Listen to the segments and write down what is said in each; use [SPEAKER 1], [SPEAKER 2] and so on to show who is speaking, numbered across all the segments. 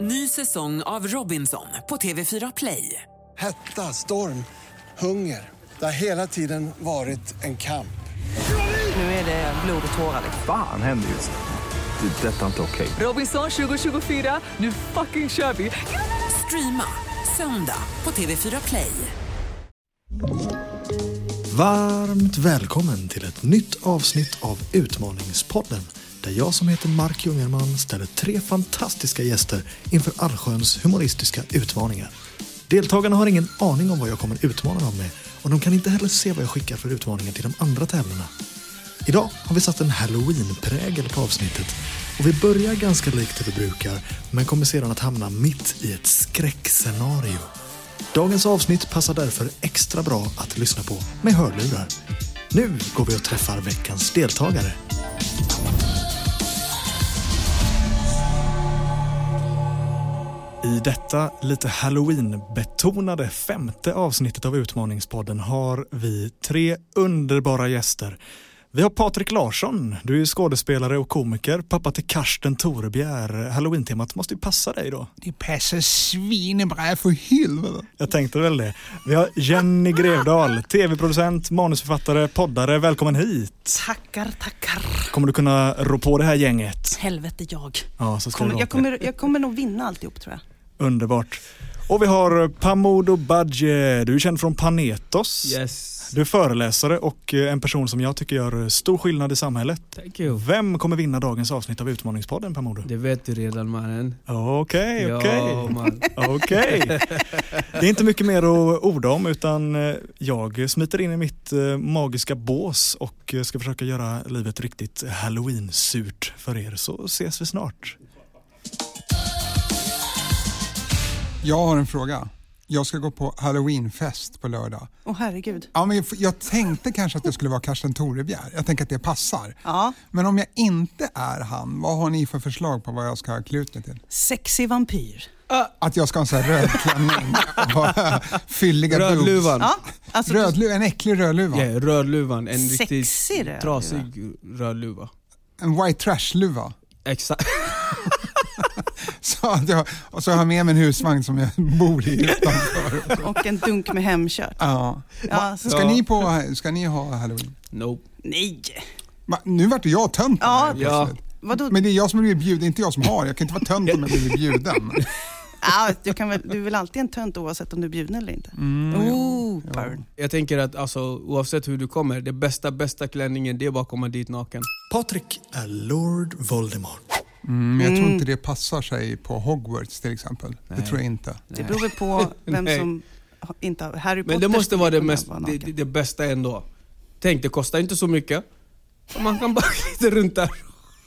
[SPEAKER 1] Ny säsong av Robinson på TV4 Play.
[SPEAKER 2] Hetta, storm, hunger. Det har hela tiden varit en kamp.
[SPEAKER 1] Nu är det blod och tårar.
[SPEAKER 3] Fan händer just nu. Det. är Detta är inte okej.
[SPEAKER 1] Robinson 2024, nu fucking kör vi! Streama söndag på TV4 Play.
[SPEAKER 4] Varmt välkommen till ett nytt avsnitt av Utmaningspodden där jag som heter Mark Jungerman ställer tre fantastiska gäster inför allsköns humoristiska utmaningar. Deltagarna har ingen aning om vad jag kommer utmana dem med och de kan inte heller se vad jag skickar för utmaningar till de andra tävlarna. Idag har vi satt en halloween-prägel på avsnittet och vi börjar ganska likt det vi brukar men kommer sedan att hamna mitt i ett skräckscenario. Dagens avsnitt passar därför extra bra att lyssna på med hörlurar. Nu går vi och träffar veckans deltagare. I detta lite halloween-betonade femte avsnittet av Utmaningspodden har vi tre underbara gäster. Vi har Patrik Larsson, du är ju skådespelare och komiker, pappa till Karsten Torebjer. Halloween-temat måste ju passa dig då.
[SPEAKER 5] Det passar svinebra för helvete.
[SPEAKER 4] Jag tänkte väl det. Vi har Jenny Grevdal, tv-producent, manusförfattare, poddare. Välkommen hit!
[SPEAKER 6] Tackar, tackar.
[SPEAKER 4] Kommer du kunna rå på det här gänget?
[SPEAKER 6] Helvete jag.
[SPEAKER 4] Ja, så ska det
[SPEAKER 6] Kommer,
[SPEAKER 4] låta.
[SPEAKER 6] jag, kommer, jag kommer nog vinna alltihop tror jag.
[SPEAKER 4] Underbart. Och vi har Pamodo Badje. Du är känd från Panetos.
[SPEAKER 7] Yes.
[SPEAKER 4] Du är föreläsare och eh, en person som jag tycker gör eh, stor skillnad i samhället.
[SPEAKER 7] Thank you.
[SPEAKER 4] Vem kommer vinna dagens avsnitt av Utmaningspodden, Pamodo?
[SPEAKER 7] Det vet du redan mannen.
[SPEAKER 4] Okej,
[SPEAKER 7] Ja,
[SPEAKER 4] okej.
[SPEAKER 7] man.
[SPEAKER 4] Okej. Det är inte mycket mer att orda om utan eh, jag smiter in i mitt eh, magiska bås och eh, ska försöka göra livet riktigt halloween-surt för er så ses vi snart.
[SPEAKER 5] Jag har en fråga. Jag ska gå på halloweenfest på lördag.
[SPEAKER 6] Åh herregud.
[SPEAKER 5] Ja, men jag- jag tänkte kanske att jag skulle vara Karsten Torebjer. Jag tänker att det passar.
[SPEAKER 6] Ja.
[SPEAKER 5] Men om jag inte är han, vad har ni för förslag på vad jag ska klä ut mig till?
[SPEAKER 6] Sexig vampyr.
[SPEAKER 5] Att jag ska ha en sån här röd klänning och fylliga
[SPEAKER 7] Rödluvan.
[SPEAKER 5] boobs.
[SPEAKER 6] Ja, alltså du-
[SPEAKER 5] Rödlu- en äcklig rödluva.
[SPEAKER 7] Ja, rödluvan. En
[SPEAKER 6] Sexig
[SPEAKER 7] riktigt
[SPEAKER 6] rödluva.
[SPEAKER 7] trasig rödluva.
[SPEAKER 5] En white trash-luva.
[SPEAKER 7] Exakt.
[SPEAKER 5] Så att jag, och så har jag med mig en husvagn som jag bor i utanför.
[SPEAKER 6] och en dunk med hemkört.
[SPEAKER 5] Ja.
[SPEAKER 6] Ja, så
[SPEAKER 5] Ska,
[SPEAKER 6] ska...
[SPEAKER 5] ni på, ska ni ha halloween?
[SPEAKER 7] Nope.
[SPEAKER 6] Nej,
[SPEAKER 5] Va, nu vart ju jag tönt
[SPEAKER 6] Ja.
[SPEAKER 5] här plötsligt.
[SPEAKER 6] vadå?
[SPEAKER 5] Men det är jag som blir bjuden, inte jag som har. Jag kan inte vara tönt om jag blir bjuden.
[SPEAKER 6] Ah, du, kan väl, du är väl alltid en tönt oavsett om du är bjuden eller inte?
[SPEAKER 7] Mm,
[SPEAKER 6] oh, burn.
[SPEAKER 7] Jag tänker att alltså, oavsett hur du kommer, det bästa, bästa klänningen det är bara att komma dit naken.
[SPEAKER 4] Patrik är Lord Voldemort.
[SPEAKER 5] Men jag tror inte det passar sig på Hogwarts till exempel. Det tror jag inte.
[SPEAKER 6] Det beror väl på vem
[SPEAKER 7] Nej.
[SPEAKER 6] som har- inte har... Harry Potter
[SPEAKER 7] Men det måste
[SPEAKER 6] skulle
[SPEAKER 7] vara det,
[SPEAKER 6] kunna
[SPEAKER 7] mest, det,
[SPEAKER 6] naken.
[SPEAKER 7] det, det bästa ändå. Tänk, det kostar inte så mycket. Man kan bara glida runt där.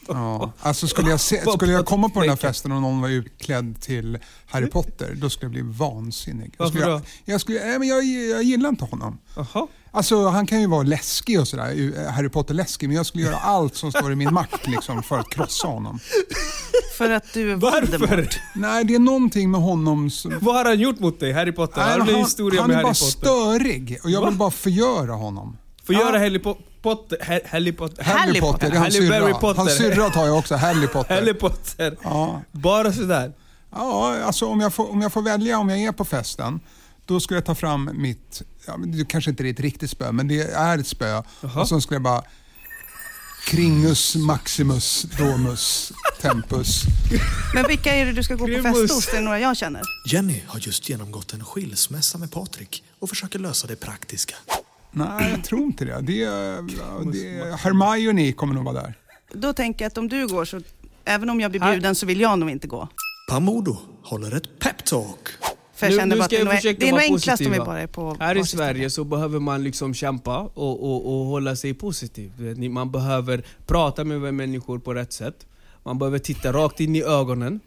[SPEAKER 5] Ja. Alltså skulle jag, se, skulle jag komma på den här festen och någon var utklädd till Harry Potter, då skulle jag bli vansinnig. Jag
[SPEAKER 7] Varför
[SPEAKER 5] skulle, jag,
[SPEAKER 7] då?
[SPEAKER 5] jag, skulle, nej, men jag, jag gillar inte honom.
[SPEAKER 7] Jaha.
[SPEAKER 5] Alltså han kan ju vara läskig och sådär, eh, Harry Potter-läskig, men jag skulle göra allt som står i min makt liksom, för att krossa honom.
[SPEAKER 6] För att du är Voldemort.
[SPEAKER 7] Varför?
[SPEAKER 5] Nej, det är någonting med honom som...
[SPEAKER 7] Vad har han gjort mot dig? Harry Potter?
[SPEAKER 5] Nej,
[SPEAKER 7] Han har
[SPEAKER 5] men
[SPEAKER 7] en historia
[SPEAKER 5] han
[SPEAKER 7] med
[SPEAKER 5] är
[SPEAKER 7] Harry
[SPEAKER 5] bara
[SPEAKER 7] Potter.
[SPEAKER 5] störig och jag vill
[SPEAKER 7] Va?
[SPEAKER 5] bara förgöra honom.
[SPEAKER 7] Får göra Harry Po- Potter... Ha- Harry Potter...
[SPEAKER 5] Harry
[SPEAKER 6] Harry
[SPEAKER 5] Potter, det är hans
[SPEAKER 7] Harry Berry
[SPEAKER 5] syrra.
[SPEAKER 7] Potter.
[SPEAKER 5] Hans syrra tar jag också, Harry Potter.
[SPEAKER 7] Harry Potter.
[SPEAKER 5] Ja.
[SPEAKER 7] Bara sådär.
[SPEAKER 5] Ja, alltså om jag, får, om jag får välja om jag är på festen, då skulle jag ta fram mitt, ja, men det kanske inte är ett riktigt spö, men det är ett spö. Och så skulle jag bara Kringus Maximus Domus Tempus.
[SPEAKER 6] Men vilka är det du ska gå på
[SPEAKER 7] Grimus.
[SPEAKER 6] fest hos? Det är några jag känner.
[SPEAKER 4] Jenny har just genomgått en skilsmässa med Patrik och försöker lösa det praktiska.
[SPEAKER 5] Nej, jag tror inte det. det, är, ja, det är, Hermione kommer nog vara där.
[SPEAKER 6] Då tänker jag att om du går så, även om jag blir bjuden så vill jag nog inte gå.
[SPEAKER 4] Pamodo håller ett peptalk.
[SPEAKER 6] För jag
[SPEAKER 7] Nu-
[SPEAKER 6] känner
[SPEAKER 7] nu
[SPEAKER 6] bara att
[SPEAKER 7] ska
[SPEAKER 6] det är
[SPEAKER 7] jag
[SPEAKER 6] nog-
[SPEAKER 7] försöka
[SPEAKER 6] det är nog
[SPEAKER 7] vara
[SPEAKER 6] enklast om vi
[SPEAKER 7] positiva.
[SPEAKER 6] bara är på
[SPEAKER 7] Här i
[SPEAKER 6] varsitt ställe.
[SPEAKER 7] Sverige så behöver man liksom kämpa och, och, och hålla sig positiv. Ni- Man behöver prata med människor på rätt sätt. Man behöver titta rakt in i ögonen.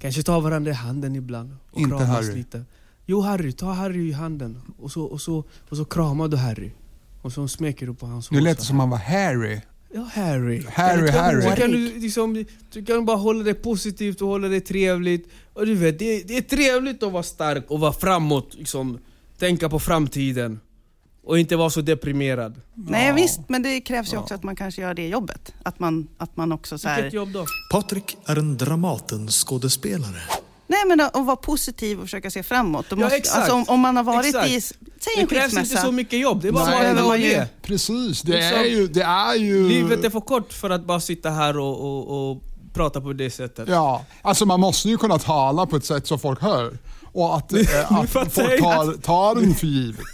[SPEAKER 7] Kanske ta varandra i handen ibland. Och
[SPEAKER 5] Inte
[SPEAKER 7] kramas
[SPEAKER 5] Harry.
[SPEAKER 7] lite. Jo Harry, ta Harry i handen. Och så, och så, och så kramar du Harry. Och så smeker du på hans
[SPEAKER 5] Nu
[SPEAKER 7] hår
[SPEAKER 5] lät
[SPEAKER 7] så
[SPEAKER 5] det
[SPEAKER 7] här.
[SPEAKER 5] som han var Harry.
[SPEAKER 7] Ja, Harry.
[SPEAKER 5] Harry,
[SPEAKER 7] Kan du-
[SPEAKER 5] Harry.
[SPEAKER 7] Så kan du, liksom, du kan bara hålla det positivt och hålla det trevligt. Och du vet, det, det är trevligt att vara stark och vara framåt. Liksom, tänka på framtiden. Och inte vara så deprimerad.
[SPEAKER 6] Nej visst, men det krävs ju också att man kanske gör det jobbet. Att man, att man också så här,
[SPEAKER 7] Vilket jobb då?
[SPEAKER 4] Patrik är en Dramatenskådespelare.
[SPEAKER 6] Nej, men att att vara positiv och försöka se framåt. Då
[SPEAKER 7] Ja,
[SPEAKER 6] måste,
[SPEAKER 7] exakt.
[SPEAKER 6] Alltså, om, om man har varit
[SPEAKER 7] Exakt.
[SPEAKER 6] i, säg en
[SPEAKER 7] Det krävs inte så
[SPEAKER 6] skilsmässa.
[SPEAKER 7] mycket jobb, det är bara
[SPEAKER 5] Nej.
[SPEAKER 7] att vara över och
[SPEAKER 6] Nej.
[SPEAKER 7] det.
[SPEAKER 5] Precis, det
[SPEAKER 7] Liksom,
[SPEAKER 5] är ju... Det är ju...
[SPEAKER 7] Livet är för kort för att bara sitta här och, och, och prata på det sättet.
[SPEAKER 5] Ja, alltså man måste ju kunna tala på ett sätt så folk hör. Och att, eh, att
[SPEAKER 7] fattar
[SPEAKER 5] folk
[SPEAKER 7] jag.
[SPEAKER 5] tar, tar en för givet.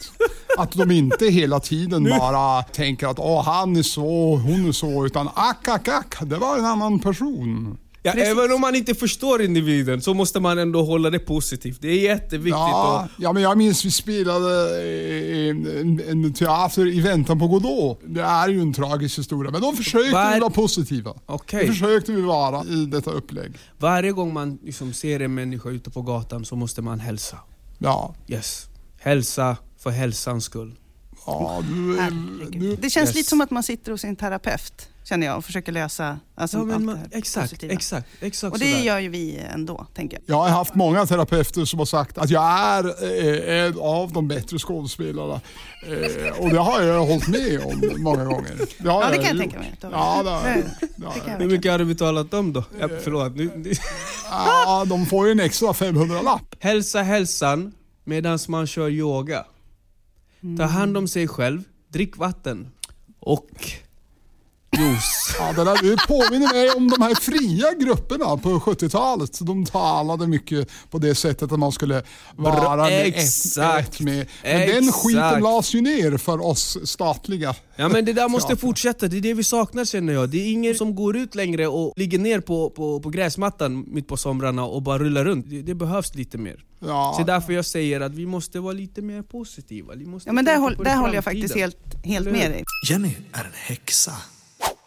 [SPEAKER 5] Att de inte hela tiden bara tänker att Åh, han är så, hon är så, utan ack, ack, ack, det var en annan person.
[SPEAKER 7] Ja,
[SPEAKER 6] Precis.
[SPEAKER 7] även om man inte förstår individen så måste man ändå hålla det positivt. Det är jätteviktigt.
[SPEAKER 5] Ja,
[SPEAKER 7] Och,
[SPEAKER 5] ja, men jag minns vi spelade eh, en, en teater i väntan på Godot. Det är ju en tragisk historia, men de försökte
[SPEAKER 7] Var-
[SPEAKER 5] vi vara positiva.
[SPEAKER 7] Okej.
[SPEAKER 5] Det försökte vi vara i detta upplägg.
[SPEAKER 7] Varje gång man liksom ser en människa ute på gatan så måste man hälsa.
[SPEAKER 5] Ja,
[SPEAKER 7] Yes. Hälsa för hälsans skull.
[SPEAKER 5] ja du,
[SPEAKER 6] Herregud.
[SPEAKER 5] du,
[SPEAKER 6] Det känns
[SPEAKER 7] Mm. Yes.
[SPEAKER 6] lite som att man sitter hos sin terapeut, känner jag, och försöker lösa alltså,
[SPEAKER 7] Ja, men
[SPEAKER 6] allt
[SPEAKER 7] man,
[SPEAKER 6] det här
[SPEAKER 7] exakt,
[SPEAKER 6] positiva.
[SPEAKER 7] exakt, exakt
[SPEAKER 6] Och det
[SPEAKER 7] sådär.
[SPEAKER 6] gör ju vi ändå, tänker jag.
[SPEAKER 5] Jag har haft många terapeuter som har sagt att jag är eh, en av de bättre skådespelarna. Eh, och det har jag hållit med om många gånger. har
[SPEAKER 6] Ja, det kan jag
[SPEAKER 5] gjort.
[SPEAKER 6] tänka mig. Det har
[SPEAKER 5] Ja,
[SPEAKER 6] jag.
[SPEAKER 5] det har jag. gjort. Det har
[SPEAKER 6] Det kan
[SPEAKER 5] jag.
[SPEAKER 6] jag
[SPEAKER 7] Hur
[SPEAKER 6] verkligen.
[SPEAKER 7] mycket har du betalat dem då? Ja, förlåt. Nu, nu.
[SPEAKER 5] Ja, de får ju en extra 500-lapp.
[SPEAKER 7] Hälsa hälsan medan man kör yoga.
[SPEAKER 6] Mm.
[SPEAKER 7] Ta hand om sig själv, drick vatten och juice.
[SPEAKER 5] Ja, det där det påminner mig om de här fria grupperna på 70-talet. De talade mycket på det sättet att man skulle vara med
[SPEAKER 7] Exakt.
[SPEAKER 5] ett, ett med. Men den
[SPEAKER 7] Exakt.
[SPEAKER 5] skiten lades ju ner för oss statliga.
[SPEAKER 7] Ja men det där måste
[SPEAKER 5] Teater.
[SPEAKER 7] fortsätta, det är det vi saknar känner jag. Det är ingen som går ut längre och ligger ner på, på, på gräsmattan mitt på somrarna och bara rullar runt. Det, det behövs lite mer.
[SPEAKER 5] Ja.
[SPEAKER 7] Så därför jag säger att vi måste vara lite mer positiva. Vi måste
[SPEAKER 6] Ja, men där,
[SPEAKER 7] tänka
[SPEAKER 6] håll,
[SPEAKER 7] på
[SPEAKER 6] där
[SPEAKER 7] det
[SPEAKER 6] håller jag
[SPEAKER 7] framtiden.
[SPEAKER 6] faktiskt helt, helt
[SPEAKER 7] Eller hur?
[SPEAKER 6] med dig.
[SPEAKER 4] Jenny är en häxa.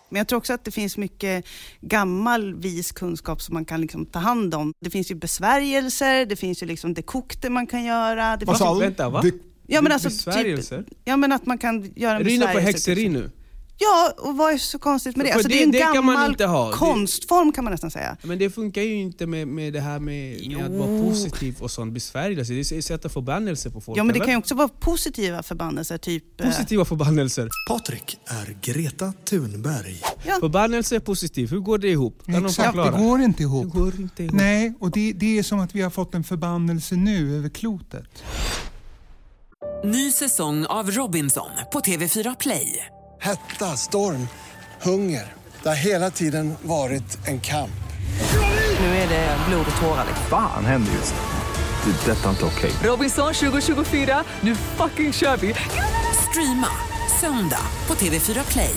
[SPEAKER 6] Men jag tror också att det finns mycket gammal vis kunskap som man kan liksom ta hand om. Det finns ju besvärjelser, det finns ju liksom dekokter man kan göra. Det
[SPEAKER 5] Vad
[SPEAKER 6] finns,
[SPEAKER 5] sa du?
[SPEAKER 7] Vänta va?
[SPEAKER 5] Det-
[SPEAKER 6] ja, men
[SPEAKER 7] Be-
[SPEAKER 6] alltså,
[SPEAKER 7] besvärjelser?
[SPEAKER 6] Typ, ja men att man kan göra en
[SPEAKER 7] Är du inne på
[SPEAKER 6] besvärjelse,
[SPEAKER 7] häxeri
[SPEAKER 6] typ.
[SPEAKER 7] nu?
[SPEAKER 6] Ja, och vad är så konstigt med det?
[SPEAKER 7] För
[SPEAKER 6] Alltså, det,
[SPEAKER 7] det-
[SPEAKER 6] är en
[SPEAKER 7] det kan man
[SPEAKER 6] gammal
[SPEAKER 7] inte ha. Det-
[SPEAKER 6] konstform kan man nästan säga.
[SPEAKER 7] Men det funkar ju inte med, med det här med, med att vara positiv och sånt besvärjelse. Det är ett sätt att förbannelse på folk.
[SPEAKER 6] Ja men det
[SPEAKER 7] eller?
[SPEAKER 6] kan ju också vara positiva förbannelser, typ... eh,
[SPEAKER 7] Positiva förbannelser.
[SPEAKER 4] Patrik är Greta Thunberg.
[SPEAKER 6] Ja,
[SPEAKER 7] Förbannelse är positiv, hur går det ihop? Kan någon
[SPEAKER 5] Exakt,
[SPEAKER 7] förklara?
[SPEAKER 5] det går inte ihop.
[SPEAKER 7] Det går inte ihop.
[SPEAKER 5] Nej, och det, det är som att vi har fått en förbannelse nu över klotet.
[SPEAKER 1] Ny säsong av Robinson på TV4 Play.
[SPEAKER 2] Hetta, storm, hunger. Det har hela tiden varit en kamp.
[SPEAKER 1] Nu är det blod och tårar. liksom.
[SPEAKER 3] Fan händer just det. Det är detta inte okej.
[SPEAKER 1] Robinson 2024, nu fucking kör vi! Streama söndag på TV4 Play.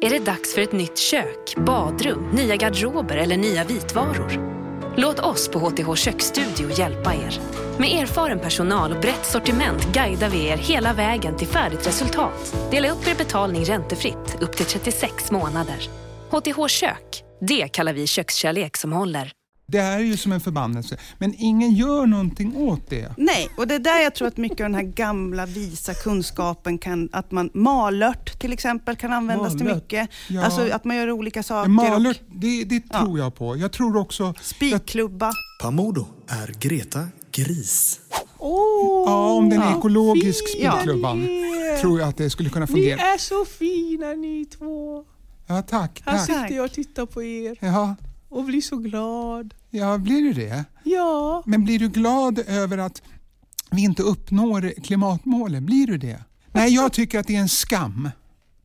[SPEAKER 8] Är det dags för ett nytt kök, badrum, nya garderober eller nya vitvaror? Låt oss på HTH Köksstudio hjälpa er. Med erfaren personal och brett sortiment guidar vi er hela vägen till färdigt resultat. Dela upp er betalning räntefritt upp till 36 månader. HTH Kök, det kallar vi kökskärlek som håller.
[SPEAKER 5] Det här är ju som en förbannelse, men ingen gör någonting åt det.
[SPEAKER 6] Nej, och det är där jag tror att mycket av den här gamla visa kunskapen kan, att man, malört till exempel kan användas till
[SPEAKER 7] Malört?
[SPEAKER 6] mycket.
[SPEAKER 5] Ja.
[SPEAKER 6] Alltså att man gör olika saker.
[SPEAKER 5] Malört,
[SPEAKER 6] och
[SPEAKER 5] det, det
[SPEAKER 6] Ja.
[SPEAKER 5] tror jag på. Jag tror också... Jag,
[SPEAKER 6] spikklubba.
[SPEAKER 4] Pamodo är Greta Gris.
[SPEAKER 5] ja, om den är ekologisk
[SPEAKER 6] Ja.
[SPEAKER 5] spikklubban
[SPEAKER 7] är.
[SPEAKER 5] tror jag att det skulle kunna
[SPEAKER 7] Ni
[SPEAKER 5] fungera.
[SPEAKER 7] är så fina ni två.
[SPEAKER 5] Ja, tack,
[SPEAKER 7] Här
[SPEAKER 5] tack.
[SPEAKER 7] sitter jag och tittar på er
[SPEAKER 5] Ja,
[SPEAKER 7] och blir så glad.
[SPEAKER 5] ja, blir du det?
[SPEAKER 7] Ja.
[SPEAKER 5] Men blir du glad över att vi inte uppnår klimatmålen? Blir du det? Nej, jag tycker att det är en skam.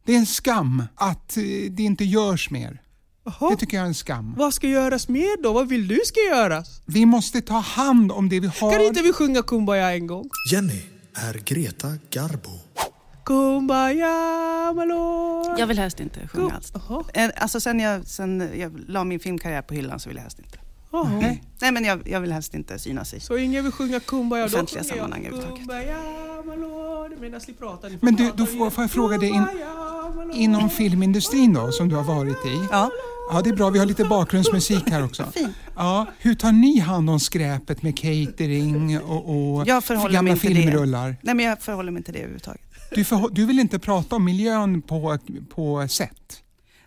[SPEAKER 5] Det är en skam att eh, det inte görs mer. Det
[SPEAKER 7] Jaha.
[SPEAKER 5] tycker jag är en skam.
[SPEAKER 7] Vad ska göras mer då? Vad vill du ska göras?
[SPEAKER 5] Vi måste ta hand om det vi har.
[SPEAKER 7] Kan inte vi sjunga Kumbaya en gång?
[SPEAKER 4] Jenny är Greta Garbo.
[SPEAKER 7] Kumbaya my lord.
[SPEAKER 6] Jag vill helst inte sjunga alls.
[SPEAKER 7] Jaha.
[SPEAKER 6] Eh, Alltså sen jag, sen jag la min filmkarriär på hyllan så vill jag helst inte.
[SPEAKER 7] Jaha.
[SPEAKER 5] Nej.
[SPEAKER 6] Nej men jag, jag vill helst inte synas i.
[SPEAKER 7] Så ingen vill sjunga Kumbaya, då
[SPEAKER 6] Offentliga
[SPEAKER 7] sjunger
[SPEAKER 6] sammanhang
[SPEAKER 7] jag
[SPEAKER 6] överhuvudtaget.
[SPEAKER 7] Kumbaya my lord medan ni pratar. Ni
[SPEAKER 5] Men du,
[SPEAKER 7] prata
[SPEAKER 5] då får,
[SPEAKER 7] igen.
[SPEAKER 5] får jag fråga dig in,
[SPEAKER 7] Kumbaya, my lord.
[SPEAKER 5] inom filmindustrin då, som du har varit i.
[SPEAKER 6] Ja.
[SPEAKER 5] Ja, det är bra. Vi har lite bakgrundsmusik här också.
[SPEAKER 6] Fint.
[SPEAKER 5] Ja, hur tar ni hand om skräpet med catering och, och
[SPEAKER 6] Jag förhåller
[SPEAKER 5] gamla
[SPEAKER 6] mig till
[SPEAKER 5] filmrullar?
[SPEAKER 6] det. Nej men jag förhåller mig inte det överhuvudtaget.
[SPEAKER 5] Du, förhå- du vill inte prata om miljön på, på set?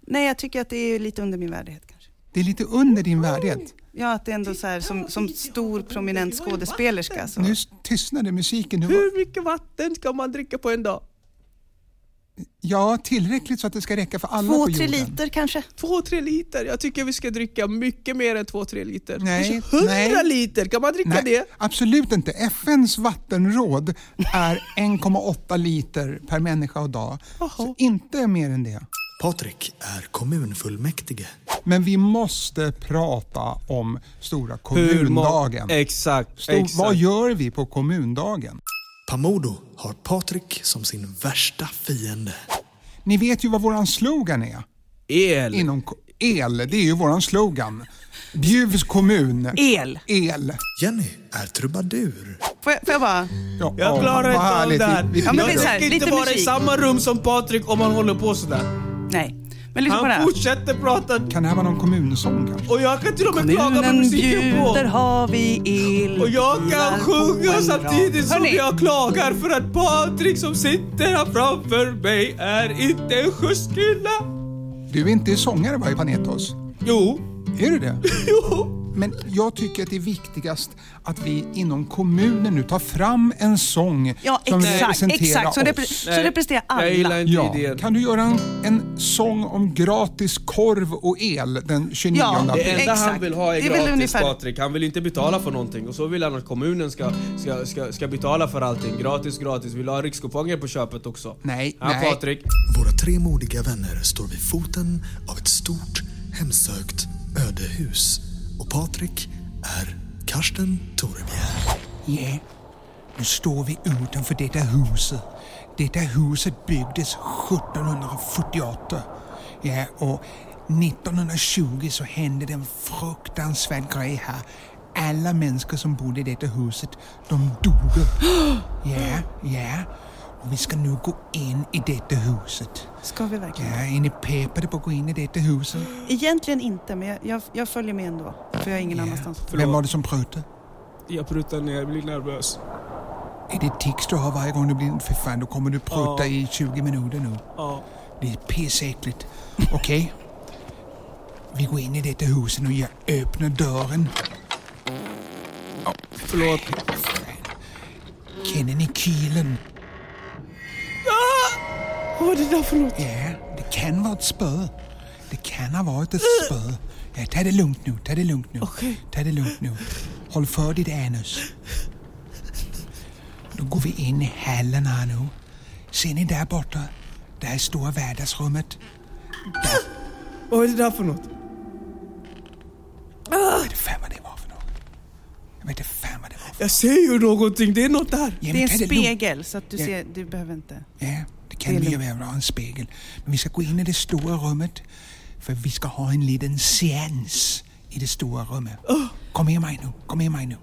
[SPEAKER 6] Nej jag tycker att det är lite under min värdighet kanske.
[SPEAKER 5] Det är lite under din värdighet.
[SPEAKER 6] Ja att det är ändå så här som, som stor prominent skådespelerska. alltså. Så.
[SPEAKER 5] Nu s- tystnade musiken. Nu var-
[SPEAKER 7] Hur mycket vatten ska man dricka på en dag?
[SPEAKER 5] Ja, tillräckligt så att det ska räcka för alla
[SPEAKER 6] Två,
[SPEAKER 5] på
[SPEAKER 6] tre
[SPEAKER 5] jorden.
[SPEAKER 6] liter kanske?
[SPEAKER 7] Två, tre liter. Jag tycker vi ska dricka mycket mer än två, tre liter.
[SPEAKER 5] Nej,
[SPEAKER 7] Kanske hundra
[SPEAKER 5] nej.
[SPEAKER 7] liter, kan man dricka
[SPEAKER 5] Nej,
[SPEAKER 7] det?
[SPEAKER 5] absolut inte. FNs vattenråd är 1,8 liter per människa och dag. Så inte mer än det.
[SPEAKER 4] Patrik är kommunfullmäktige.
[SPEAKER 5] Men vi måste prata om stora
[SPEAKER 7] Hur må-
[SPEAKER 5] kommundagen.
[SPEAKER 7] Exakt,
[SPEAKER 5] Stor,
[SPEAKER 7] exakt.
[SPEAKER 5] Vad gör vi på kommundagen?
[SPEAKER 4] Pamodo har Patrik som sin värsta fiende.
[SPEAKER 5] Ni vet ju vad våran slogan är.
[SPEAKER 7] El.
[SPEAKER 5] Inom ko- el, det är ju våran slogan. Bjuvs kommun.
[SPEAKER 6] El.
[SPEAKER 5] El.
[SPEAKER 4] Jenny är trubadur.
[SPEAKER 6] Får jag, får jag bara?
[SPEAKER 5] Ja,
[SPEAKER 7] Jag klarar
[SPEAKER 5] vad
[SPEAKER 7] inte av
[SPEAKER 5] härligt.
[SPEAKER 7] det här.
[SPEAKER 5] Vi- vi
[SPEAKER 6] Ja, men
[SPEAKER 5] fick
[SPEAKER 6] det är
[SPEAKER 7] jag
[SPEAKER 6] så här,
[SPEAKER 7] tänker inte
[SPEAKER 6] lite
[SPEAKER 7] vara i
[SPEAKER 6] musik.
[SPEAKER 7] samma rum som Patrik om han håller på sådär.
[SPEAKER 6] Nej. Men lyssna på det
[SPEAKER 7] Han
[SPEAKER 6] här.
[SPEAKER 7] fortsätter prata
[SPEAKER 5] Kan det här vara någon kommunsång kanske?
[SPEAKER 7] och jag kan till och med klaga på
[SPEAKER 6] Kommunen
[SPEAKER 7] musiken på.
[SPEAKER 6] bjuder har vi el.
[SPEAKER 7] Och jag kan
[SPEAKER 6] Rullar på
[SPEAKER 7] sjunga
[SPEAKER 6] en
[SPEAKER 7] samtidigt
[SPEAKER 6] rad.
[SPEAKER 7] som
[SPEAKER 6] Hörni,
[SPEAKER 7] jag klagar för att Patrik som sitter här framför mig är inte en schysst kille.
[SPEAKER 5] Du är inte sångare va, i Panetos?
[SPEAKER 7] Jo,
[SPEAKER 5] Är du det?
[SPEAKER 7] jo.
[SPEAKER 5] Men jag tycker att det är viktigast att vi inom kommunen nu tar fram en sång
[SPEAKER 6] Ja,
[SPEAKER 5] som
[SPEAKER 6] exakt.
[SPEAKER 5] representerar
[SPEAKER 6] exakt. Så, repre-
[SPEAKER 5] oss.
[SPEAKER 6] så representerar alla.
[SPEAKER 7] Jag gillar inte
[SPEAKER 5] Ja,
[SPEAKER 7] idén.
[SPEAKER 5] kan du göra en, en sång om gratis korv och el den 29
[SPEAKER 6] Ja,
[SPEAKER 5] april?
[SPEAKER 7] Det enda han
[SPEAKER 6] Exakt.
[SPEAKER 7] vill ha
[SPEAKER 6] Det
[SPEAKER 7] är
[SPEAKER 6] är väl
[SPEAKER 7] gratis
[SPEAKER 6] ungefär-
[SPEAKER 7] Patrik. Han vill inte betala för någonting och så vill han att kommunen ska, ska, ska, ska betala för allting. Gratis, gratis. Vill ha rikskuponger på köpet också.
[SPEAKER 5] Nej,
[SPEAKER 7] ja,
[SPEAKER 5] nej.
[SPEAKER 7] Patrik.
[SPEAKER 4] Våra tre modiga vänner står vid foten av ett stort, hemsökt ödehus. Och Patrik är Karsten Torebjer.
[SPEAKER 5] Ja, nu står vi utanför detta huset. Detta huset byggdes 1748. Ja, och 1920 så hände den fruktansvärd grej här. Alla människor som bodde i detta huset, de dog. Ja, ja. Och vi ska nu gå in i detta huset.
[SPEAKER 6] Ska vi verkligen?
[SPEAKER 5] Ja, är ni peppade på att gå in i detta huset?
[SPEAKER 6] Egentligen inte, men jag, jag, jag följer med ändå. För jag är ingen annanstans.
[SPEAKER 5] Vem var det som prutade?
[SPEAKER 7] Jag prutar ner, jag blir nervös.
[SPEAKER 5] Är det tics du har varje gång du blir... För fan, då kommer du prutta i 20 minuter nu.
[SPEAKER 7] Ja.
[SPEAKER 5] Det är pissäckligt. Okej? Vi går in i detta huset och jag öppnar dörren.
[SPEAKER 7] Förlåt.
[SPEAKER 5] Känner ni kylen?
[SPEAKER 7] Vad var det där för något?
[SPEAKER 5] Ja, det kan vara ett spö. Det kan ha varit ett spö. Ja, ta det lugnt nu, ta det lugnt nu.
[SPEAKER 7] Okej.
[SPEAKER 5] Ta det lugnt nu. Håll för ditt anus. Då går vi in i hallen här nu. Ser ni där borta? Där är stora vardagsrummet.
[SPEAKER 7] Vad var det där för något?
[SPEAKER 5] Jag vet fan vad det var för något. Jag vet inte fan vad det var för
[SPEAKER 7] Jag ser ju någonting, det är något där.
[SPEAKER 5] Ja, men
[SPEAKER 6] Det är
[SPEAKER 5] ta
[SPEAKER 6] en
[SPEAKER 5] lugnt.
[SPEAKER 6] spegel, så att du
[SPEAKER 5] Ja.
[SPEAKER 6] ser, du behöver inte.
[SPEAKER 5] Ja, det kan lika väl vara en spegel. Men vi ska gå in i det stora rummet. För vi ska ha en liten seans i det stora rummet. Kom med mig nu, kom med mig nu.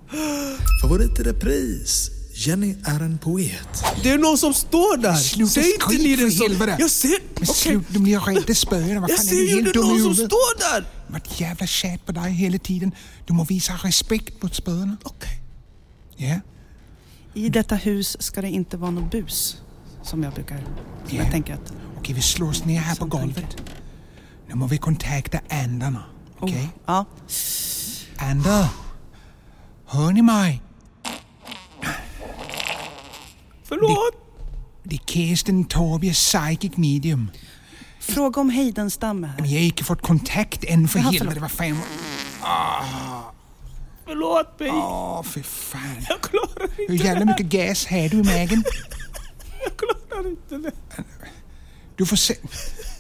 [SPEAKER 4] Favorit i repris. Jenny är en poet.
[SPEAKER 7] Det är någon som står där.
[SPEAKER 5] Sluta
[SPEAKER 7] Säg inte
[SPEAKER 5] skrik
[SPEAKER 7] ni
[SPEAKER 5] för
[SPEAKER 7] det så.
[SPEAKER 5] helvete.
[SPEAKER 7] Jag ser...
[SPEAKER 5] Men
[SPEAKER 7] Okej.
[SPEAKER 5] sluta, nu blir jag rädd. Det spöar. Vad
[SPEAKER 7] Jag
[SPEAKER 5] fan är
[SPEAKER 7] ser
[SPEAKER 5] du
[SPEAKER 7] ju
[SPEAKER 5] helt
[SPEAKER 7] det
[SPEAKER 5] dum
[SPEAKER 7] någon
[SPEAKER 5] i
[SPEAKER 7] som
[SPEAKER 5] huvudet?
[SPEAKER 7] står där.
[SPEAKER 5] Vad jävla tjat på dig hela tiden. Du må visa respekt mot spöna.
[SPEAKER 7] Okej.
[SPEAKER 5] Ja,
[SPEAKER 6] I detta hus ska det inte vara något bus. Som jag brukar... Som
[SPEAKER 5] Ja.
[SPEAKER 6] jag tänker att...
[SPEAKER 5] okej vi slår oss ner här på
[SPEAKER 6] Som
[SPEAKER 5] golvet. Nu må vi kontakta andarna. Okej?
[SPEAKER 6] Oh, Ja.
[SPEAKER 5] Andar, hör ni mig?
[SPEAKER 7] Förlåt.
[SPEAKER 5] Det är Kirsten Torbjer psychic medium.
[SPEAKER 6] Fråga om Heidenstam är här.
[SPEAKER 5] Men jag har inte fått kontakt än för
[SPEAKER 6] Jaha,
[SPEAKER 5] helvete.
[SPEAKER 6] förlåt.
[SPEAKER 5] Vad fan...
[SPEAKER 7] Ah. Förlåt mig.
[SPEAKER 5] Åh, fy Ah, fan.
[SPEAKER 7] Jag klarar inte
[SPEAKER 5] Hur jävla mycket gas har du i magen?
[SPEAKER 7] Jag klarar inte det.
[SPEAKER 5] Du får se...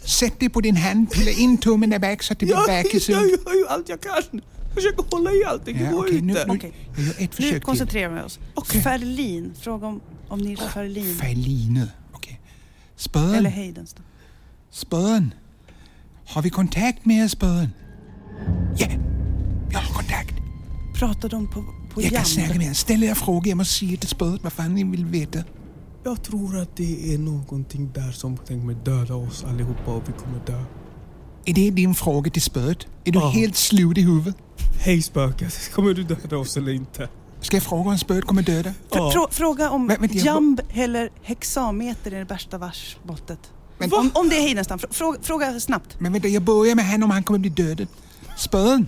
[SPEAKER 5] Sätt dig på din hand, pilla in tummen där bak så att det blir
[SPEAKER 7] Jag,
[SPEAKER 5] bakis.
[SPEAKER 7] jag gör ju allt jag kan. Jag försöker hålla i allting, det
[SPEAKER 5] Ja,
[SPEAKER 7] går
[SPEAKER 5] okej, nu,
[SPEAKER 7] inte.
[SPEAKER 5] nu,
[SPEAKER 6] Okej.
[SPEAKER 5] jag gör ett
[SPEAKER 6] Nu
[SPEAKER 5] försök till.
[SPEAKER 6] koncentrerar vi oss. Och Ferlin. Fråga om, om Nils Ferlin.
[SPEAKER 5] Feline. Okej.
[SPEAKER 6] Mm. Eller
[SPEAKER 5] Spön,
[SPEAKER 6] Heidenstam.
[SPEAKER 5] spön. Har vi kontakt med er spön? Ja, jag har kontakt.
[SPEAKER 6] Pratar de på, på
[SPEAKER 5] Jag kan snacka
[SPEAKER 6] Jamb?
[SPEAKER 5] med er. Ställ er frågor, jag måste säga till spöet vad fan ni vill veta.
[SPEAKER 7] Jag tror att det är någonting där som tänker döda oss allihopa och vi kommer dö.
[SPEAKER 5] Är det din fråga till spöet? Är du
[SPEAKER 7] Ja.
[SPEAKER 5] helt slut i huvudet?
[SPEAKER 7] Hej spöket, kommer du döda oss eller inte?
[SPEAKER 5] Ska jag fråga om spöet kommer döda?
[SPEAKER 7] Ja.
[SPEAKER 6] Frå, fråga om
[SPEAKER 5] Men- vänta, jag-
[SPEAKER 6] jamb eller hexameter är det värsta varsmåttet.
[SPEAKER 5] Men-
[SPEAKER 6] Om, om det är Heidenstam. Fråga, fråga snabbt.
[SPEAKER 5] Men vänta, jag börjar med han om han kommer bli dödad. Spön,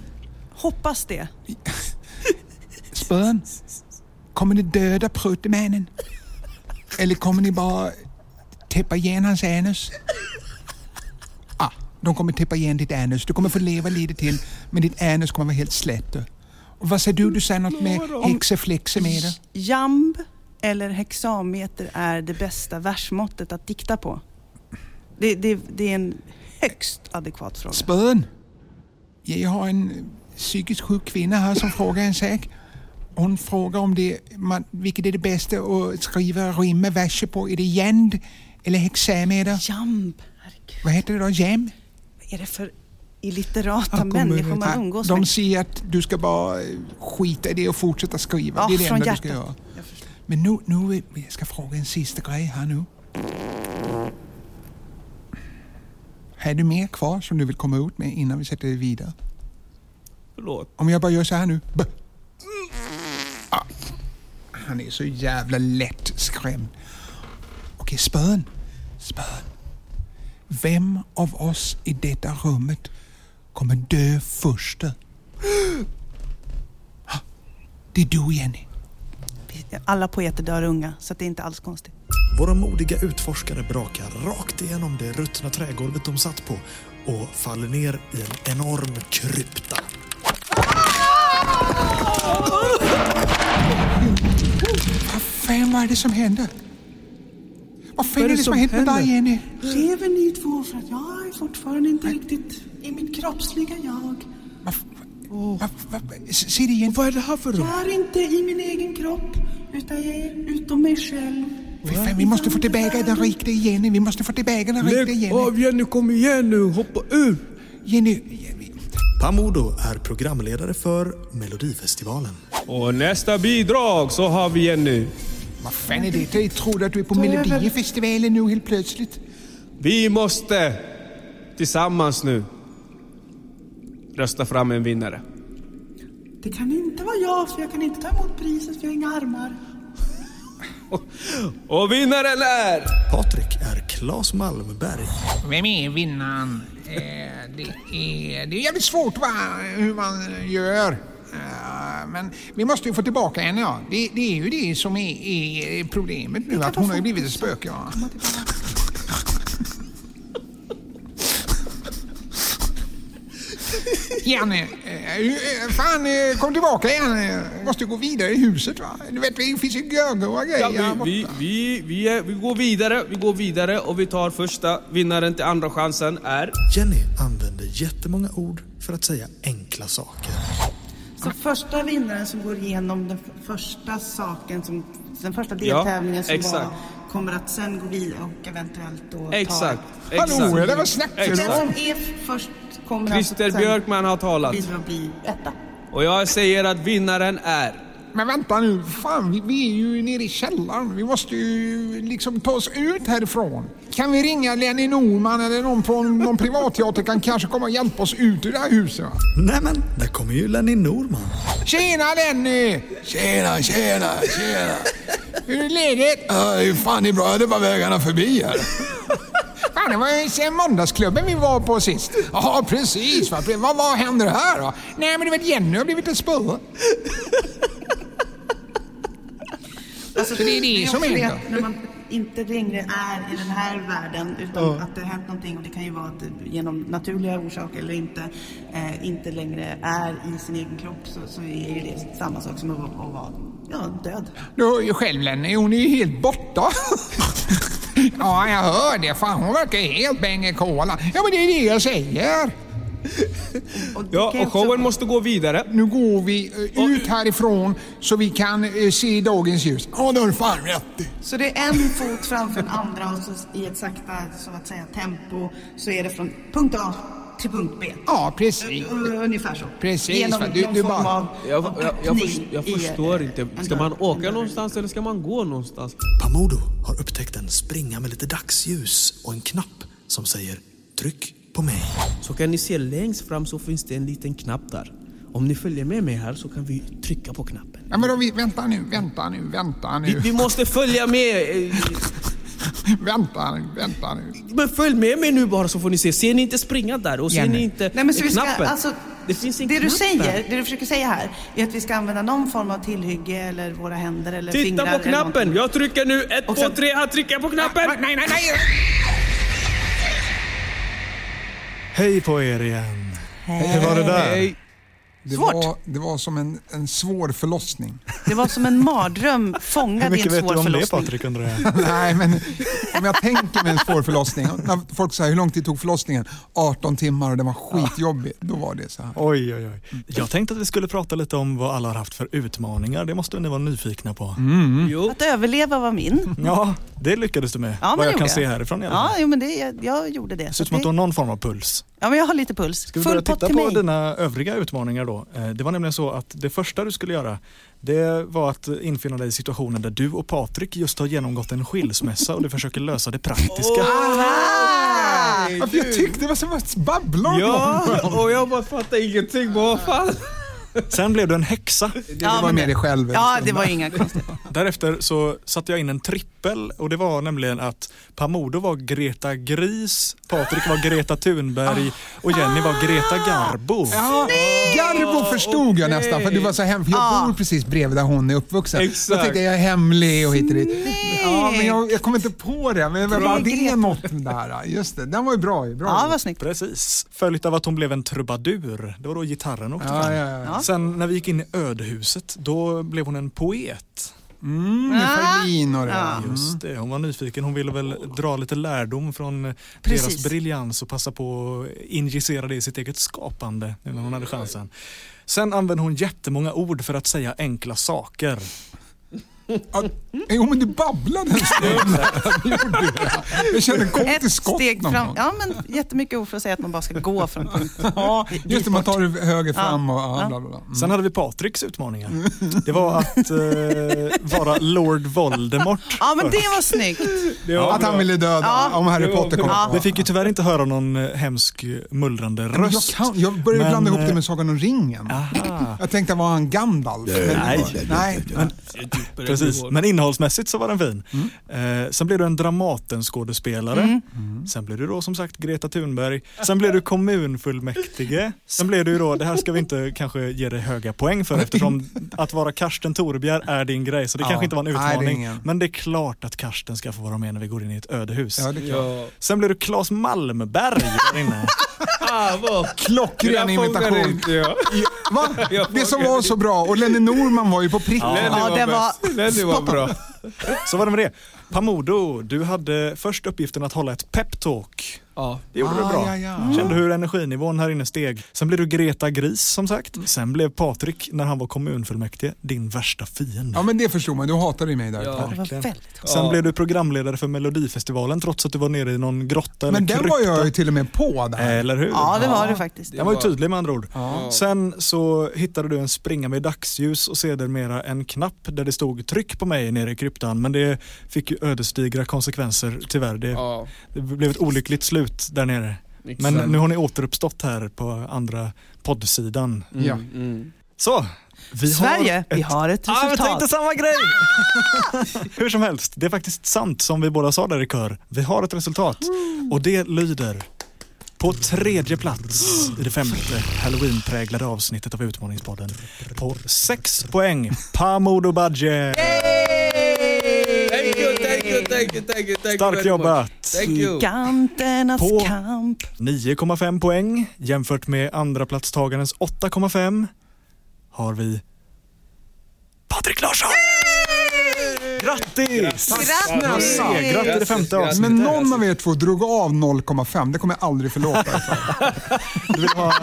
[SPEAKER 6] Hoppas det.
[SPEAKER 5] spön. Kommer ni döda pruttemannen? Eller kommer ni bara täppa igen hans anus. Ah, de kommer täppa igen ditt anus. Du kommer få leva lite till, men ditt anus kommer vara helt slätt. du. Och vad säger du? Du säger något med häxefläxer med det?
[SPEAKER 6] Jamb eller hexameter är det bästa versmåttet att dikta på. Det, det, det är en högst adekvat fråga.
[SPEAKER 5] Spöden. Jag har en psykiskt sjuk kvinna här som frågar en sak. Hon frågar om det, man, vilket är det bästa att skriva rimma verser på. Är det jänd eller hexameter?
[SPEAKER 6] Jamb, herregud.
[SPEAKER 5] Vad heter det då? Jäm?
[SPEAKER 6] Vad är det för illiterata människor man umgås
[SPEAKER 5] De
[SPEAKER 6] med?
[SPEAKER 5] säger att du ska bara eh, skita i det och fortsätta skriva.
[SPEAKER 6] Ja,
[SPEAKER 5] det är det
[SPEAKER 6] från
[SPEAKER 5] enda
[SPEAKER 6] hjärtat.
[SPEAKER 5] du ska göra.
[SPEAKER 6] Jag förstår.
[SPEAKER 5] Men nu, nu eh, jag ska fråga en sista grej här nu. Har du mer kvar som du vill komma ut med innan vi sätter dig vidare?
[SPEAKER 7] Förlåt.
[SPEAKER 5] Om jag bara gör så här nu. B. Ah. Han är så jävla lätt skrämd. Okej, spön. Spön. Vem av oss i detta rummet kommer dö först? Ah, Det är du, Jenny.
[SPEAKER 6] Alla poeter dör unga, så att det är inte alls konstigt.
[SPEAKER 4] Våra modiga utforskare brakar rakt igenom det ruttna trägolvet de satt på och faller ner i en enorm krypta.
[SPEAKER 5] Fan, vad är det som händer? Vad fan är det som har hänt med dig,
[SPEAKER 7] händer?
[SPEAKER 5] Jenny?
[SPEAKER 9] Lever ni två för att jag är fortfarande inte riktigt i mitt kroppsliga jag.
[SPEAKER 5] Vad f- vad- vad- s- Säg det igen. Vad är det här för rum?
[SPEAKER 9] Jag är inte i min egen kropp, utan jag är utom mig själv.
[SPEAKER 5] Fan, vi måste få tillbaka den riktiga Jenny. Vi måste få tillbaka den riktiga
[SPEAKER 7] Lägg
[SPEAKER 5] Jenny.
[SPEAKER 7] av Jenny, kom igen nu, hoppa ur!
[SPEAKER 5] Jenny, Jenny.
[SPEAKER 4] Pamodo är programledare för Melodifestivalen.
[SPEAKER 10] Och nästa bidrag så har vi Jenny.
[SPEAKER 5] Vad fan är det? Jag trodde att du är på Melodifestivalen nu helt plötsligt.
[SPEAKER 10] Vi måste tillsammans nu rösta fram en vinnare.
[SPEAKER 9] Det kan inte vara jag, för jag kan inte ta emot priset, för jag har inga armar.
[SPEAKER 10] Och vinnaren är...
[SPEAKER 4] Patrik är Claes Malmberg.
[SPEAKER 5] Vem är vinnaren? Eh, det, är, det är jävligt svårt va? hur man gör. Eh, men vi måste ju få tillbaka henne. Ja. Det, det är ju det som är, är problemet nu, att hon har ju blivit ett spöke. Ja. Janne, eh, eh, fan eh, kom tillbaka Janne. Måste gå vidare i huset va? Du vet, det finns ju gögor och grejer
[SPEAKER 10] Ja,
[SPEAKER 5] här
[SPEAKER 10] vi,
[SPEAKER 5] borta.
[SPEAKER 10] vi, vi, vi, är, vi går vidare, vi går vidare och vi tar första vinnaren till andra chansen är...
[SPEAKER 4] Jenny använder jättemånga ord för att säga enkla saker.
[SPEAKER 6] Så första vinnaren som går igenom den f- första saken, som, den första
[SPEAKER 10] Ja,
[SPEAKER 6] deltävlingen som
[SPEAKER 10] exakt.
[SPEAKER 6] var, kommer att sen gå vidare och eventuellt då
[SPEAKER 10] Exakt,
[SPEAKER 6] ta...
[SPEAKER 10] exakt.
[SPEAKER 5] Hallå, det var snabbt.
[SPEAKER 6] Den
[SPEAKER 10] Exakt.
[SPEAKER 6] som är först kommer
[SPEAKER 10] Christer
[SPEAKER 6] alltså sen
[SPEAKER 10] Björkman har talat.
[SPEAKER 6] bidra och bli etta.
[SPEAKER 10] Och jag säger att vinnaren är...
[SPEAKER 5] Men vänta nu, fan vi, vi är ju nere i källaren. Vi måste ju liksom ta oss ut härifrån. Kan vi ringa Lenny Norman eller någon från någon privatteater kan kanske komma och hjälpa oss ut ur det här huset? va?
[SPEAKER 4] Nämen, där kommer ju Lenny Norman.
[SPEAKER 5] Tjena Lenny! Tjena, tjena, tjena! Hur är läget? Uh, fan det är bra, det var vägarna förbi här. Fan, det var ju sen måndagsklubben vi var på sist. Ja, precis. va. Vad, vad händer här då? Nej, men du vet Jenny har blivit ett spö.
[SPEAKER 6] Alltså,
[SPEAKER 5] Så det är det som
[SPEAKER 6] också
[SPEAKER 5] händer.
[SPEAKER 6] att När man inte längre är i den här världen utan att det har hänt någonting och det kan ju vara att det genom naturliga orsaker eller inte, eh, inte längre är i sin egen kropp så, så är ju det samma sak som att, vara- att vara ja, död.
[SPEAKER 5] Du hör ju själv Lenny, hon är ju helt borta. ja, jag hör det. Fan, hon verkar helt bäng i kolan. Ja, men det är det jag säger.
[SPEAKER 6] det
[SPEAKER 10] Ja,
[SPEAKER 6] kan
[SPEAKER 10] och
[SPEAKER 6] ju också
[SPEAKER 10] showen
[SPEAKER 6] vara-
[SPEAKER 10] måste gå vidare.
[SPEAKER 5] Nu går vi eh, ut härifrån så vi kan eh, se dagens ljus. Ja, det har du fan rätt i.
[SPEAKER 6] Så det är en fot framför den andra och så i ett sakta så att säga, tempo så är det från punkt A till punkt B.
[SPEAKER 5] Ja, precis.
[SPEAKER 6] U- Ungefär så.
[SPEAKER 5] Precis,
[SPEAKER 6] Genom
[SPEAKER 5] va, du-
[SPEAKER 6] någon
[SPEAKER 5] du
[SPEAKER 6] form
[SPEAKER 5] bara-
[SPEAKER 6] av,
[SPEAKER 7] Jag,
[SPEAKER 6] av
[SPEAKER 7] jag, jag,
[SPEAKER 6] öppning
[SPEAKER 7] förs- jag
[SPEAKER 6] i, eh,
[SPEAKER 7] förstår inte.
[SPEAKER 6] en
[SPEAKER 7] Ska
[SPEAKER 6] dörr.
[SPEAKER 7] man
[SPEAKER 6] En
[SPEAKER 7] åka
[SPEAKER 6] dörr.
[SPEAKER 7] någonstans eller ska man gå någonstans?
[SPEAKER 4] Pamodo har upptäckt en springa med lite dagsljus och en knapp som säger “tryck på mig”.
[SPEAKER 7] Så kan ni se längst fram så finns det en liten knapp där. Om ni följer med mig här så kan vi trycka på knappen.
[SPEAKER 5] Ja, men då, vi, vänta nu, vänta nu, vänta
[SPEAKER 7] Vi,
[SPEAKER 5] nu.
[SPEAKER 7] vi måste följa med. eh,
[SPEAKER 5] Vänta nu, vänta nu.
[SPEAKER 7] Men följ med mig nu bara så får ni se. Ser ni inte springa där och ser
[SPEAKER 5] Jenny.
[SPEAKER 7] ni inte
[SPEAKER 6] Nej men så vi ska
[SPEAKER 7] knappen?
[SPEAKER 6] alltså
[SPEAKER 7] Det finns en
[SPEAKER 6] Det du
[SPEAKER 7] knapp där.
[SPEAKER 6] säger, det du försöker säga här, är att vi ska använda någon form av tillhygge eller våra händer eller fingrar.
[SPEAKER 10] Titta på
[SPEAKER 6] eller någonting.
[SPEAKER 10] knappen! Jag trycker nu, ett, två, tre, han trycker på knappen!
[SPEAKER 6] Nej, nej, nej!
[SPEAKER 4] Hej på er igen. Hur var det där?
[SPEAKER 5] Det
[SPEAKER 6] Svårt.
[SPEAKER 5] var, det var som en, en svår förlossning.
[SPEAKER 6] Det var som en mardröm
[SPEAKER 4] Hur
[SPEAKER 6] fångad i en
[SPEAKER 4] mycket vet
[SPEAKER 6] svår
[SPEAKER 4] du om det
[SPEAKER 6] förlossning.
[SPEAKER 4] Patrik undrar jag?
[SPEAKER 5] Nej, men om jag tänker mig en svår förlossning. När folk säger hur lång tid tog förlossningen? 18 timmar och den var skitjobbig. Då var det så här.
[SPEAKER 4] Oj, oj, oj. Mm. Jag tänkte att vi skulle prata lite om vad alla har haft för utmaningar. Det måste ni vara nyfikna på.
[SPEAKER 7] Mm. Jo.
[SPEAKER 6] Att överleva var min.
[SPEAKER 4] Ja, det lyckades du med.
[SPEAKER 6] Ja,
[SPEAKER 4] vad
[SPEAKER 6] men det
[SPEAKER 4] jag kan
[SPEAKER 6] gjorde
[SPEAKER 4] se
[SPEAKER 6] jag.
[SPEAKER 4] härifrån i alla fall.
[SPEAKER 6] Ja, jo, men det, jag, jag gjorde det.
[SPEAKER 4] Det
[SPEAKER 6] Så
[SPEAKER 4] ser ut som att du har
[SPEAKER 6] det
[SPEAKER 4] någon form av puls.
[SPEAKER 6] ja, men jag har lite puls.
[SPEAKER 4] Ska vi
[SPEAKER 6] Full
[SPEAKER 4] börja
[SPEAKER 6] pott
[SPEAKER 4] titta
[SPEAKER 6] till
[SPEAKER 4] på
[SPEAKER 6] mig.
[SPEAKER 4] dina övriga utmaningar då? Eh, Det var nämligen så att det första du skulle göra det var att infinna dig i situationen där du och Patrik just har genomgått en skilsmässa och du försöker lösa det praktiska.
[SPEAKER 5] Varför jag tyckte det var som att babbla om någon.
[SPEAKER 10] Ja, och jag bara fattar ingenting. Vad fan?
[SPEAKER 4] Sen blev du en häxa.
[SPEAKER 5] Det var med dig själv. en
[SPEAKER 6] Ja,
[SPEAKER 5] stund
[SPEAKER 6] det var
[SPEAKER 5] där.
[SPEAKER 6] ju inga konstigheter.
[SPEAKER 4] Därefter så satte jag in en trippel och det var nämligen att Pamodo var Greta Gris, Patrik var Greta Thunberg och Jenny var Greta Garbo.
[SPEAKER 5] Ah. Ja, Garbo förstod jag nästan för det var så hemskt. Jag bor precis bredvid där hon är uppvuxen.
[SPEAKER 10] Exakt.
[SPEAKER 5] Jag tänkte jag är hemlig och hit och dit. Ja, men jag, jag kom inte på det. Men jag bara, det är något där. Just det, den var ju bra. ju, bra.
[SPEAKER 6] Ja, vad snyggt.
[SPEAKER 4] Precis. Följt av att hon blev en trubadur. Det var då gitarren åkte
[SPEAKER 5] Ja,
[SPEAKER 4] fram.
[SPEAKER 5] ja, ja.
[SPEAKER 4] Sen när vi gick in i ödehuset, då blev hon en poet.
[SPEAKER 5] Mm, Ferlin och det där.
[SPEAKER 6] Mm.
[SPEAKER 4] Just det, hon var nyfiken. Hon ville väl dra lite lärdom från eh,
[SPEAKER 6] Precis.
[SPEAKER 4] deras briljans och passa på att injicera det i sitt eget skapande nu när hon hade chansen. Sen använde hon jättemånga ord för att säga enkla saker.
[SPEAKER 5] Ja, Eh, jo men du babblade en stund. Jag gjorde det. Jag kände kom till
[SPEAKER 6] Ett
[SPEAKER 5] skott
[SPEAKER 6] steg
[SPEAKER 5] någon
[SPEAKER 6] fram.
[SPEAKER 5] gång.
[SPEAKER 6] Ja, men jättemycket ord för att säga att man bara ska gå från punkt.
[SPEAKER 5] Ja, just det, man tar det höger fram och ja, bla bla bla.
[SPEAKER 6] Mm.
[SPEAKER 4] Sen hade vi Patriks utmaningar. Det var att eh, vara Lord Voldemort.
[SPEAKER 6] Ja, men det var snyggt.
[SPEAKER 4] Det var
[SPEAKER 5] Att han ville döda om Harry Potter kom.
[SPEAKER 4] Vi fick ju tyvärr inte höra någon eh, hemsk mullrande
[SPEAKER 5] Men jag,
[SPEAKER 4] röst.
[SPEAKER 5] kan, jag började
[SPEAKER 4] Men,
[SPEAKER 5] blanda ihop det
[SPEAKER 4] eh,
[SPEAKER 5] med Sagan om ringen.
[SPEAKER 4] Aha.
[SPEAKER 5] Jag tänkte, var han Gandalf? Men-
[SPEAKER 4] nej.
[SPEAKER 5] nej.
[SPEAKER 4] Precis, men innehållsmässigt så var den fin.
[SPEAKER 5] Mm.
[SPEAKER 4] Eh, sen blev du en Dramaten-skådespelare.
[SPEAKER 6] Mm.
[SPEAKER 4] Sen blev du då som sagt Greta Thunberg. Sen blev du kommunfullmäktige. Sen blev du ju då, det här ska vi inte kanske ge dig höga poäng för eftersom att vara Karsten Torebjer är din grej så det
[SPEAKER 5] Ja.
[SPEAKER 4] kanske inte var en
[SPEAKER 5] Nej, det är
[SPEAKER 4] utmaning.
[SPEAKER 5] ingen.
[SPEAKER 4] men det är klart att Karsten ska få vara med när vi går in i ett ödehus.
[SPEAKER 5] Ja, det är klart.
[SPEAKER 10] Ja.
[SPEAKER 4] Sen blev du Claes Malmberg där inne.
[SPEAKER 10] Ah, vad?
[SPEAKER 5] Klockren
[SPEAKER 10] Jag fångade
[SPEAKER 5] imitation.
[SPEAKER 10] inte jag.
[SPEAKER 5] Va?
[SPEAKER 10] Jag
[SPEAKER 5] Det som
[SPEAKER 10] fångade
[SPEAKER 5] var så bra. Och Lenny Norman var ju på pricken.
[SPEAKER 10] Lenny
[SPEAKER 6] Ja, det var-
[SPEAKER 10] bäst. Lenny var bra.
[SPEAKER 4] Så var det med det. Pamodo, du hade först uppgiften att hålla ett peptalk.
[SPEAKER 7] Ja.
[SPEAKER 4] Det gjorde du
[SPEAKER 5] Ah,
[SPEAKER 4] bra.
[SPEAKER 5] ja, ja.
[SPEAKER 4] Kände hur energinivån här inne steg. Sen blev du Greta Gris som sagt. Sen blev Patrik, när han var kommunfullmäktige, din värsta fiende.
[SPEAKER 5] Ja, men det förstod man. Du hatade ju mig där.
[SPEAKER 7] Ja.
[SPEAKER 6] Det var väldigt
[SPEAKER 4] Sen blev du programledare för Melodifestivalen trots att du var nere i någon grotta
[SPEAKER 5] Men
[SPEAKER 4] eller
[SPEAKER 5] den var jag ju till och med på där.
[SPEAKER 4] Eller hur?
[SPEAKER 6] Ja, det var det faktiskt.
[SPEAKER 4] Den var ju tydlig med andra ord. Sen så hittade du en springa med dagsljus och sedermera en knapp där det stod tryck på mig nere i kryptan. Men det fick ju ödesdigra konsekvenser tyvärr. Det,
[SPEAKER 7] Ja.
[SPEAKER 4] det blev ett olyckligt slut där nere. Men
[SPEAKER 7] Exakt.
[SPEAKER 4] nu har ni återuppstått här på andra poddsidan.
[SPEAKER 5] Ja.
[SPEAKER 4] Så, vi har...
[SPEAKER 6] Sverige,
[SPEAKER 4] ett-
[SPEAKER 6] vi har ett
[SPEAKER 4] Ah, jag tänkte
[SPEAKER 6] resultat.
[SPEAKER 4] samma grej! Hur som helst, det är faktiskt sant som vi båda sa där i kör. Vi har ett resultat
[SPEAKER 6] Mm.
[SPEAKER 4] och det lyder på tredje plats i det femte halloween-präglade avsnittet av Utmaningspodden. På sex poäng, Pamodo Badje!
[SPEAKER 7] Thank you, thank you, thank you, thank you, thank you
[SPEAKER 4] Starkt
[SPEAKER 7] very much.
[SPEAKER 4] jobbat!
[SPEAKER 7] Thank you.
[SPEAKER 6] Giganternas
[SPEAKER 4] På-
[SPEAKER 6] kamp.
[SPEAKER 4] 9,5 poäng jämfört med andra platstagarens 8,5 har vi Patrik Larsson! Grattis!
[SPEAKER 6] Grattis!
[SPEAKER 4] Segrat i det femte
[SPEAKER 7] Grattis.
[SPEAKER 4] avsnittet.
[SPEAKER 5] Men någon av er två drog av 0,5. Det kommer jag aldrig förlåta. er för.
[SPEAKER 4] Du vill ha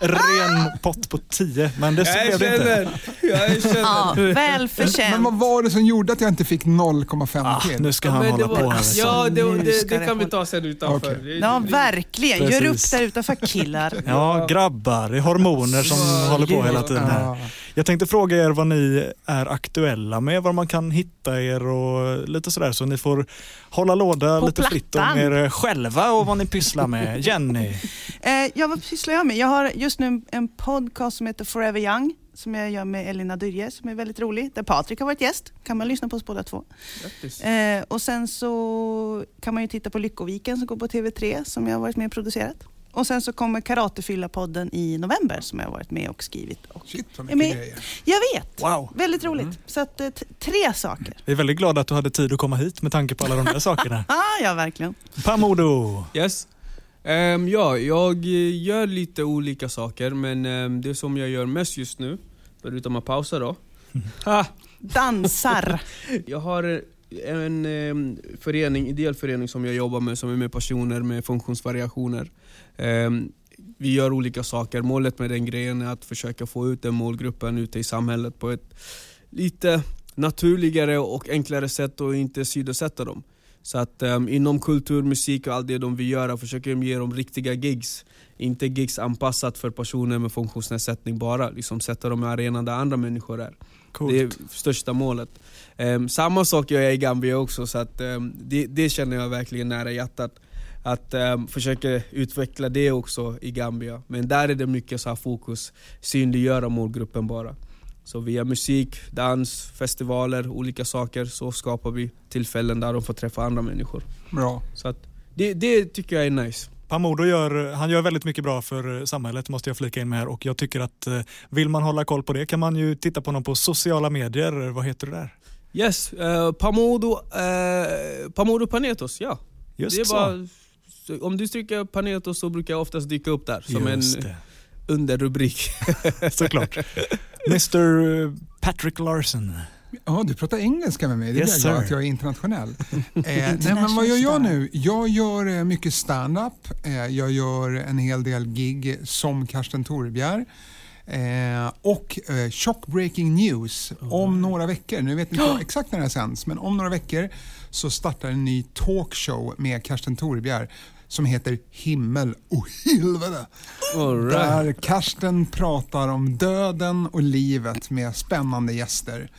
[SPEAKER 4] ren pott på 10, men det
[SPEAKER 10] Jag
[SPEAKER 4] blev det inte.
[SPEAKER 10] känner. Jag
[SPEAKER 6] Ja,
[SPEAKER 10] känner.
[SPEAKER 5] Men vad
[SPEAKER 6] välförtjänt.
[SPEAKER 5] var det som gjorde att jag inte fick 0,5
[SPEAKER 4] Ah,
[SPEAKER 5] till?
[SPEAKER 4] nu ska han
[SPEAKER 7] Men det
[SPEAKER 4] hålla
[SPEAKER 7] var-
[SPEAKER 4] på här. liksom. vet du.
[SPEAKER 7] Ja, det,
[SPEAKER 6] Nu
[SPEAKER 7] det,
[SPEAKER 6] ska
[SPEAKER 7] det
[SPEAKER 6] det
[SPEAKER 7] kan vi
[SPEAKER 6] hålla-
[SPEAKER 7] ta sen utanför.
[SPEAKER 5] Okej.
[SPEAKER 7] Det-
[SPEAKER 6] Ja,
[SPEAKER 7] det-
[SPEAKER 6] verkligen. Gör
[SPEAKER 4] Precis.
[SPEAKER 6] upp där utanför killar.
[SPEAKER 4] Ja, grabbar. Det är hormoner som håller på hela tiden här.
[SPEAKER 5] Ah.
[SPEAKER 4] Jag tänkte fråga er vad ni är aktuella med, var man kan hitta er och lite sådär. Så ni får hålla låda
[SPEAKER 6] På
[SPEAKER 4] lite fritt om
[SPEAKER 6] plattan.
[SPEAKER 4] er själva och vad ni pysslar med. Jenny,
[SPEAKER 6] Eh, ja, vad pysslar jag med? Jag har just nu en, en podcast som heter Forever Young som jag gör med Elina Dyrje som är väldigt rolig. Där Patrik har varit gäst. kan man lyssna på oss båda två.
[SPEAKER 7] Grattis.
[SPEAKER 6] Eh, och sen så kan man ju titta på Lyckoviken som går på TV3 som jag har varit med och producerat. Och sen så kommer Karatefylla-podden i november som jag har varit med och skrivit. Och
[SPEAKER 5] Shit vad
[SPEAKER 6] är
[SPEAKER 5] mycket
[SPEAKER 6] med.
[SPEAKER 5] grejer.
[SPEAKER 6] Jag vet!
[SPEAKER 4] Wow.
[SPEAKER 6] Väldigt roligt. Så att, eh, t- tre saker.
[SPEAKER 4] Vi är väldigt glada att du hade tid att komma hit med tanke på alla de där sakerna.
[SPEAKER 6] Ah, ja, verkligen.
[SPEAKER 4] Pamodo!
[SPEAKER 7] Yes. Ehm, ja, jag eh, gör lite olika saker men ehm, det som jag gör mest just nu, förutom att pausa då. Ha!
[SPEAKER 6] Dansar.
[SPEAKER 7] Jag har eh, en ehm, förening, ideell förening som jag jobbar med som är med personer med funktionsvariationer. Ehm, vi gör olika saker. Målet med den grejen är att försöka få ut den målgruppen ute i samhället på ett lite naturligare och enklare sätt och inte sidosätta dem. Så att ehm, inom kultur, musik och allt det de vill göra försöker de ge dem riktiga gigs. Inte gigs anpassat för personer med funktionsnedsättning bara. Liksom sätta dem i arenan där andra människor är.
[SPEAKER 4] Coolt.
[SPEAKER 7] Det är största målet. Ehm, samma sak gör jag i Gambia också, så att, ehm, det, det känner jag verkligen nära hjärtat. Att ehm, försöka utveckla det också i Gambia. Men där är det mycket så här fokus, synliggöra målgruppen bara. Så via musik, dans, festivaler, olika saker så skapar vi tillfällen där de får träffa andra människor.
[SPEAKER 5] Bra.
[SPEAKER 7] Så att, det, det tycker jag är nice.
[SPEAKER 4] Pamodo gör, han gör väldigt mycket bra för eh, samhället måste jag flika in med här och jag tycker att eh, vill man hålla koll på det kan man ju titta på honom på sociala medier. Vad heter du där?
[SPEAKER 7] Yes, eh, Pamodo, eh, Pamodo Panetos, ja.
[SPEAKER 4] Just
[SPEAKER 7] det är
[SPEAKER 4] så.
[SPEAKER 7] bara, så om du stryker Panetos så brukar jag oftast dyka upp där som
[SPEAKER 4] Just
[SPEAKER 7] en
[SPEAKER 4] det.
[SPEAKER 7] underrubrik.
[SPEAKER 4] Såklart. Mr Patrick Larsen.
[SPEAKER 5] Ja, du pratar engelska med mig. Det är
[SPEAKER 4] Yes,
[SPEAKER 5] yes, jag glad
[SPEAKER 4] sir.
[SPEAKER 5] att jag är internationell. eh, nej, men vad gör jag nu? Jag gör eh, mycket stand-up. Eh, jag gör en hel del gig som Karsten Torebjer. Eh, och eh, Shock Breaking News om några veckor. Nu vet inte jag exakt när det här sänds, men om några veckor så startar en ny talkshow med Karsten Torebjer som heter Himmel och helvete.
[SPEAKER 7] All right.
[SPEAKER 5] Där Karsten pratar om döden och livet med spännande gäster.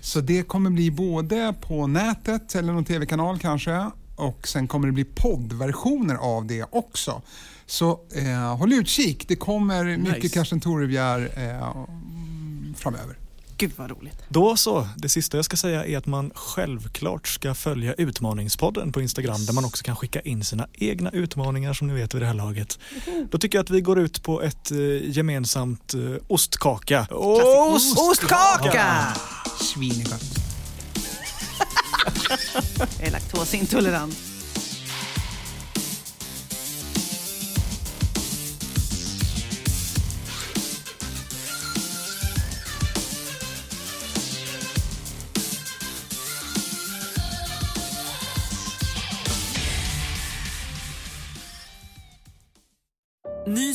[SPEAKER 5] Så det kommer bli både på nätet eller någon tv-kanal kanske och sen kommer det bli poddversioner av det också. Så eh, håll utkik, det kommer mycket Karsten Torebjer eh, framöver.
[SPEAKER 6] Gud vad roligt.
[SPEAKER 4] Då så, det sista jag ska säga är att man självklart ska följa Utmaningspodden på Instagram där man också kan skicka in sina egna utmaningar som ni vet vid det här laget. Då tycker jag att vi går ut på ett eh, gemensamt eh, ostkaka. Ost!
[SPEAKER 6] Ostkaka!
[SPEAKER 5] Svinigt.
[SPEAKER 6] Jag är laktosintolerant.
[SPEAKER 1] Ny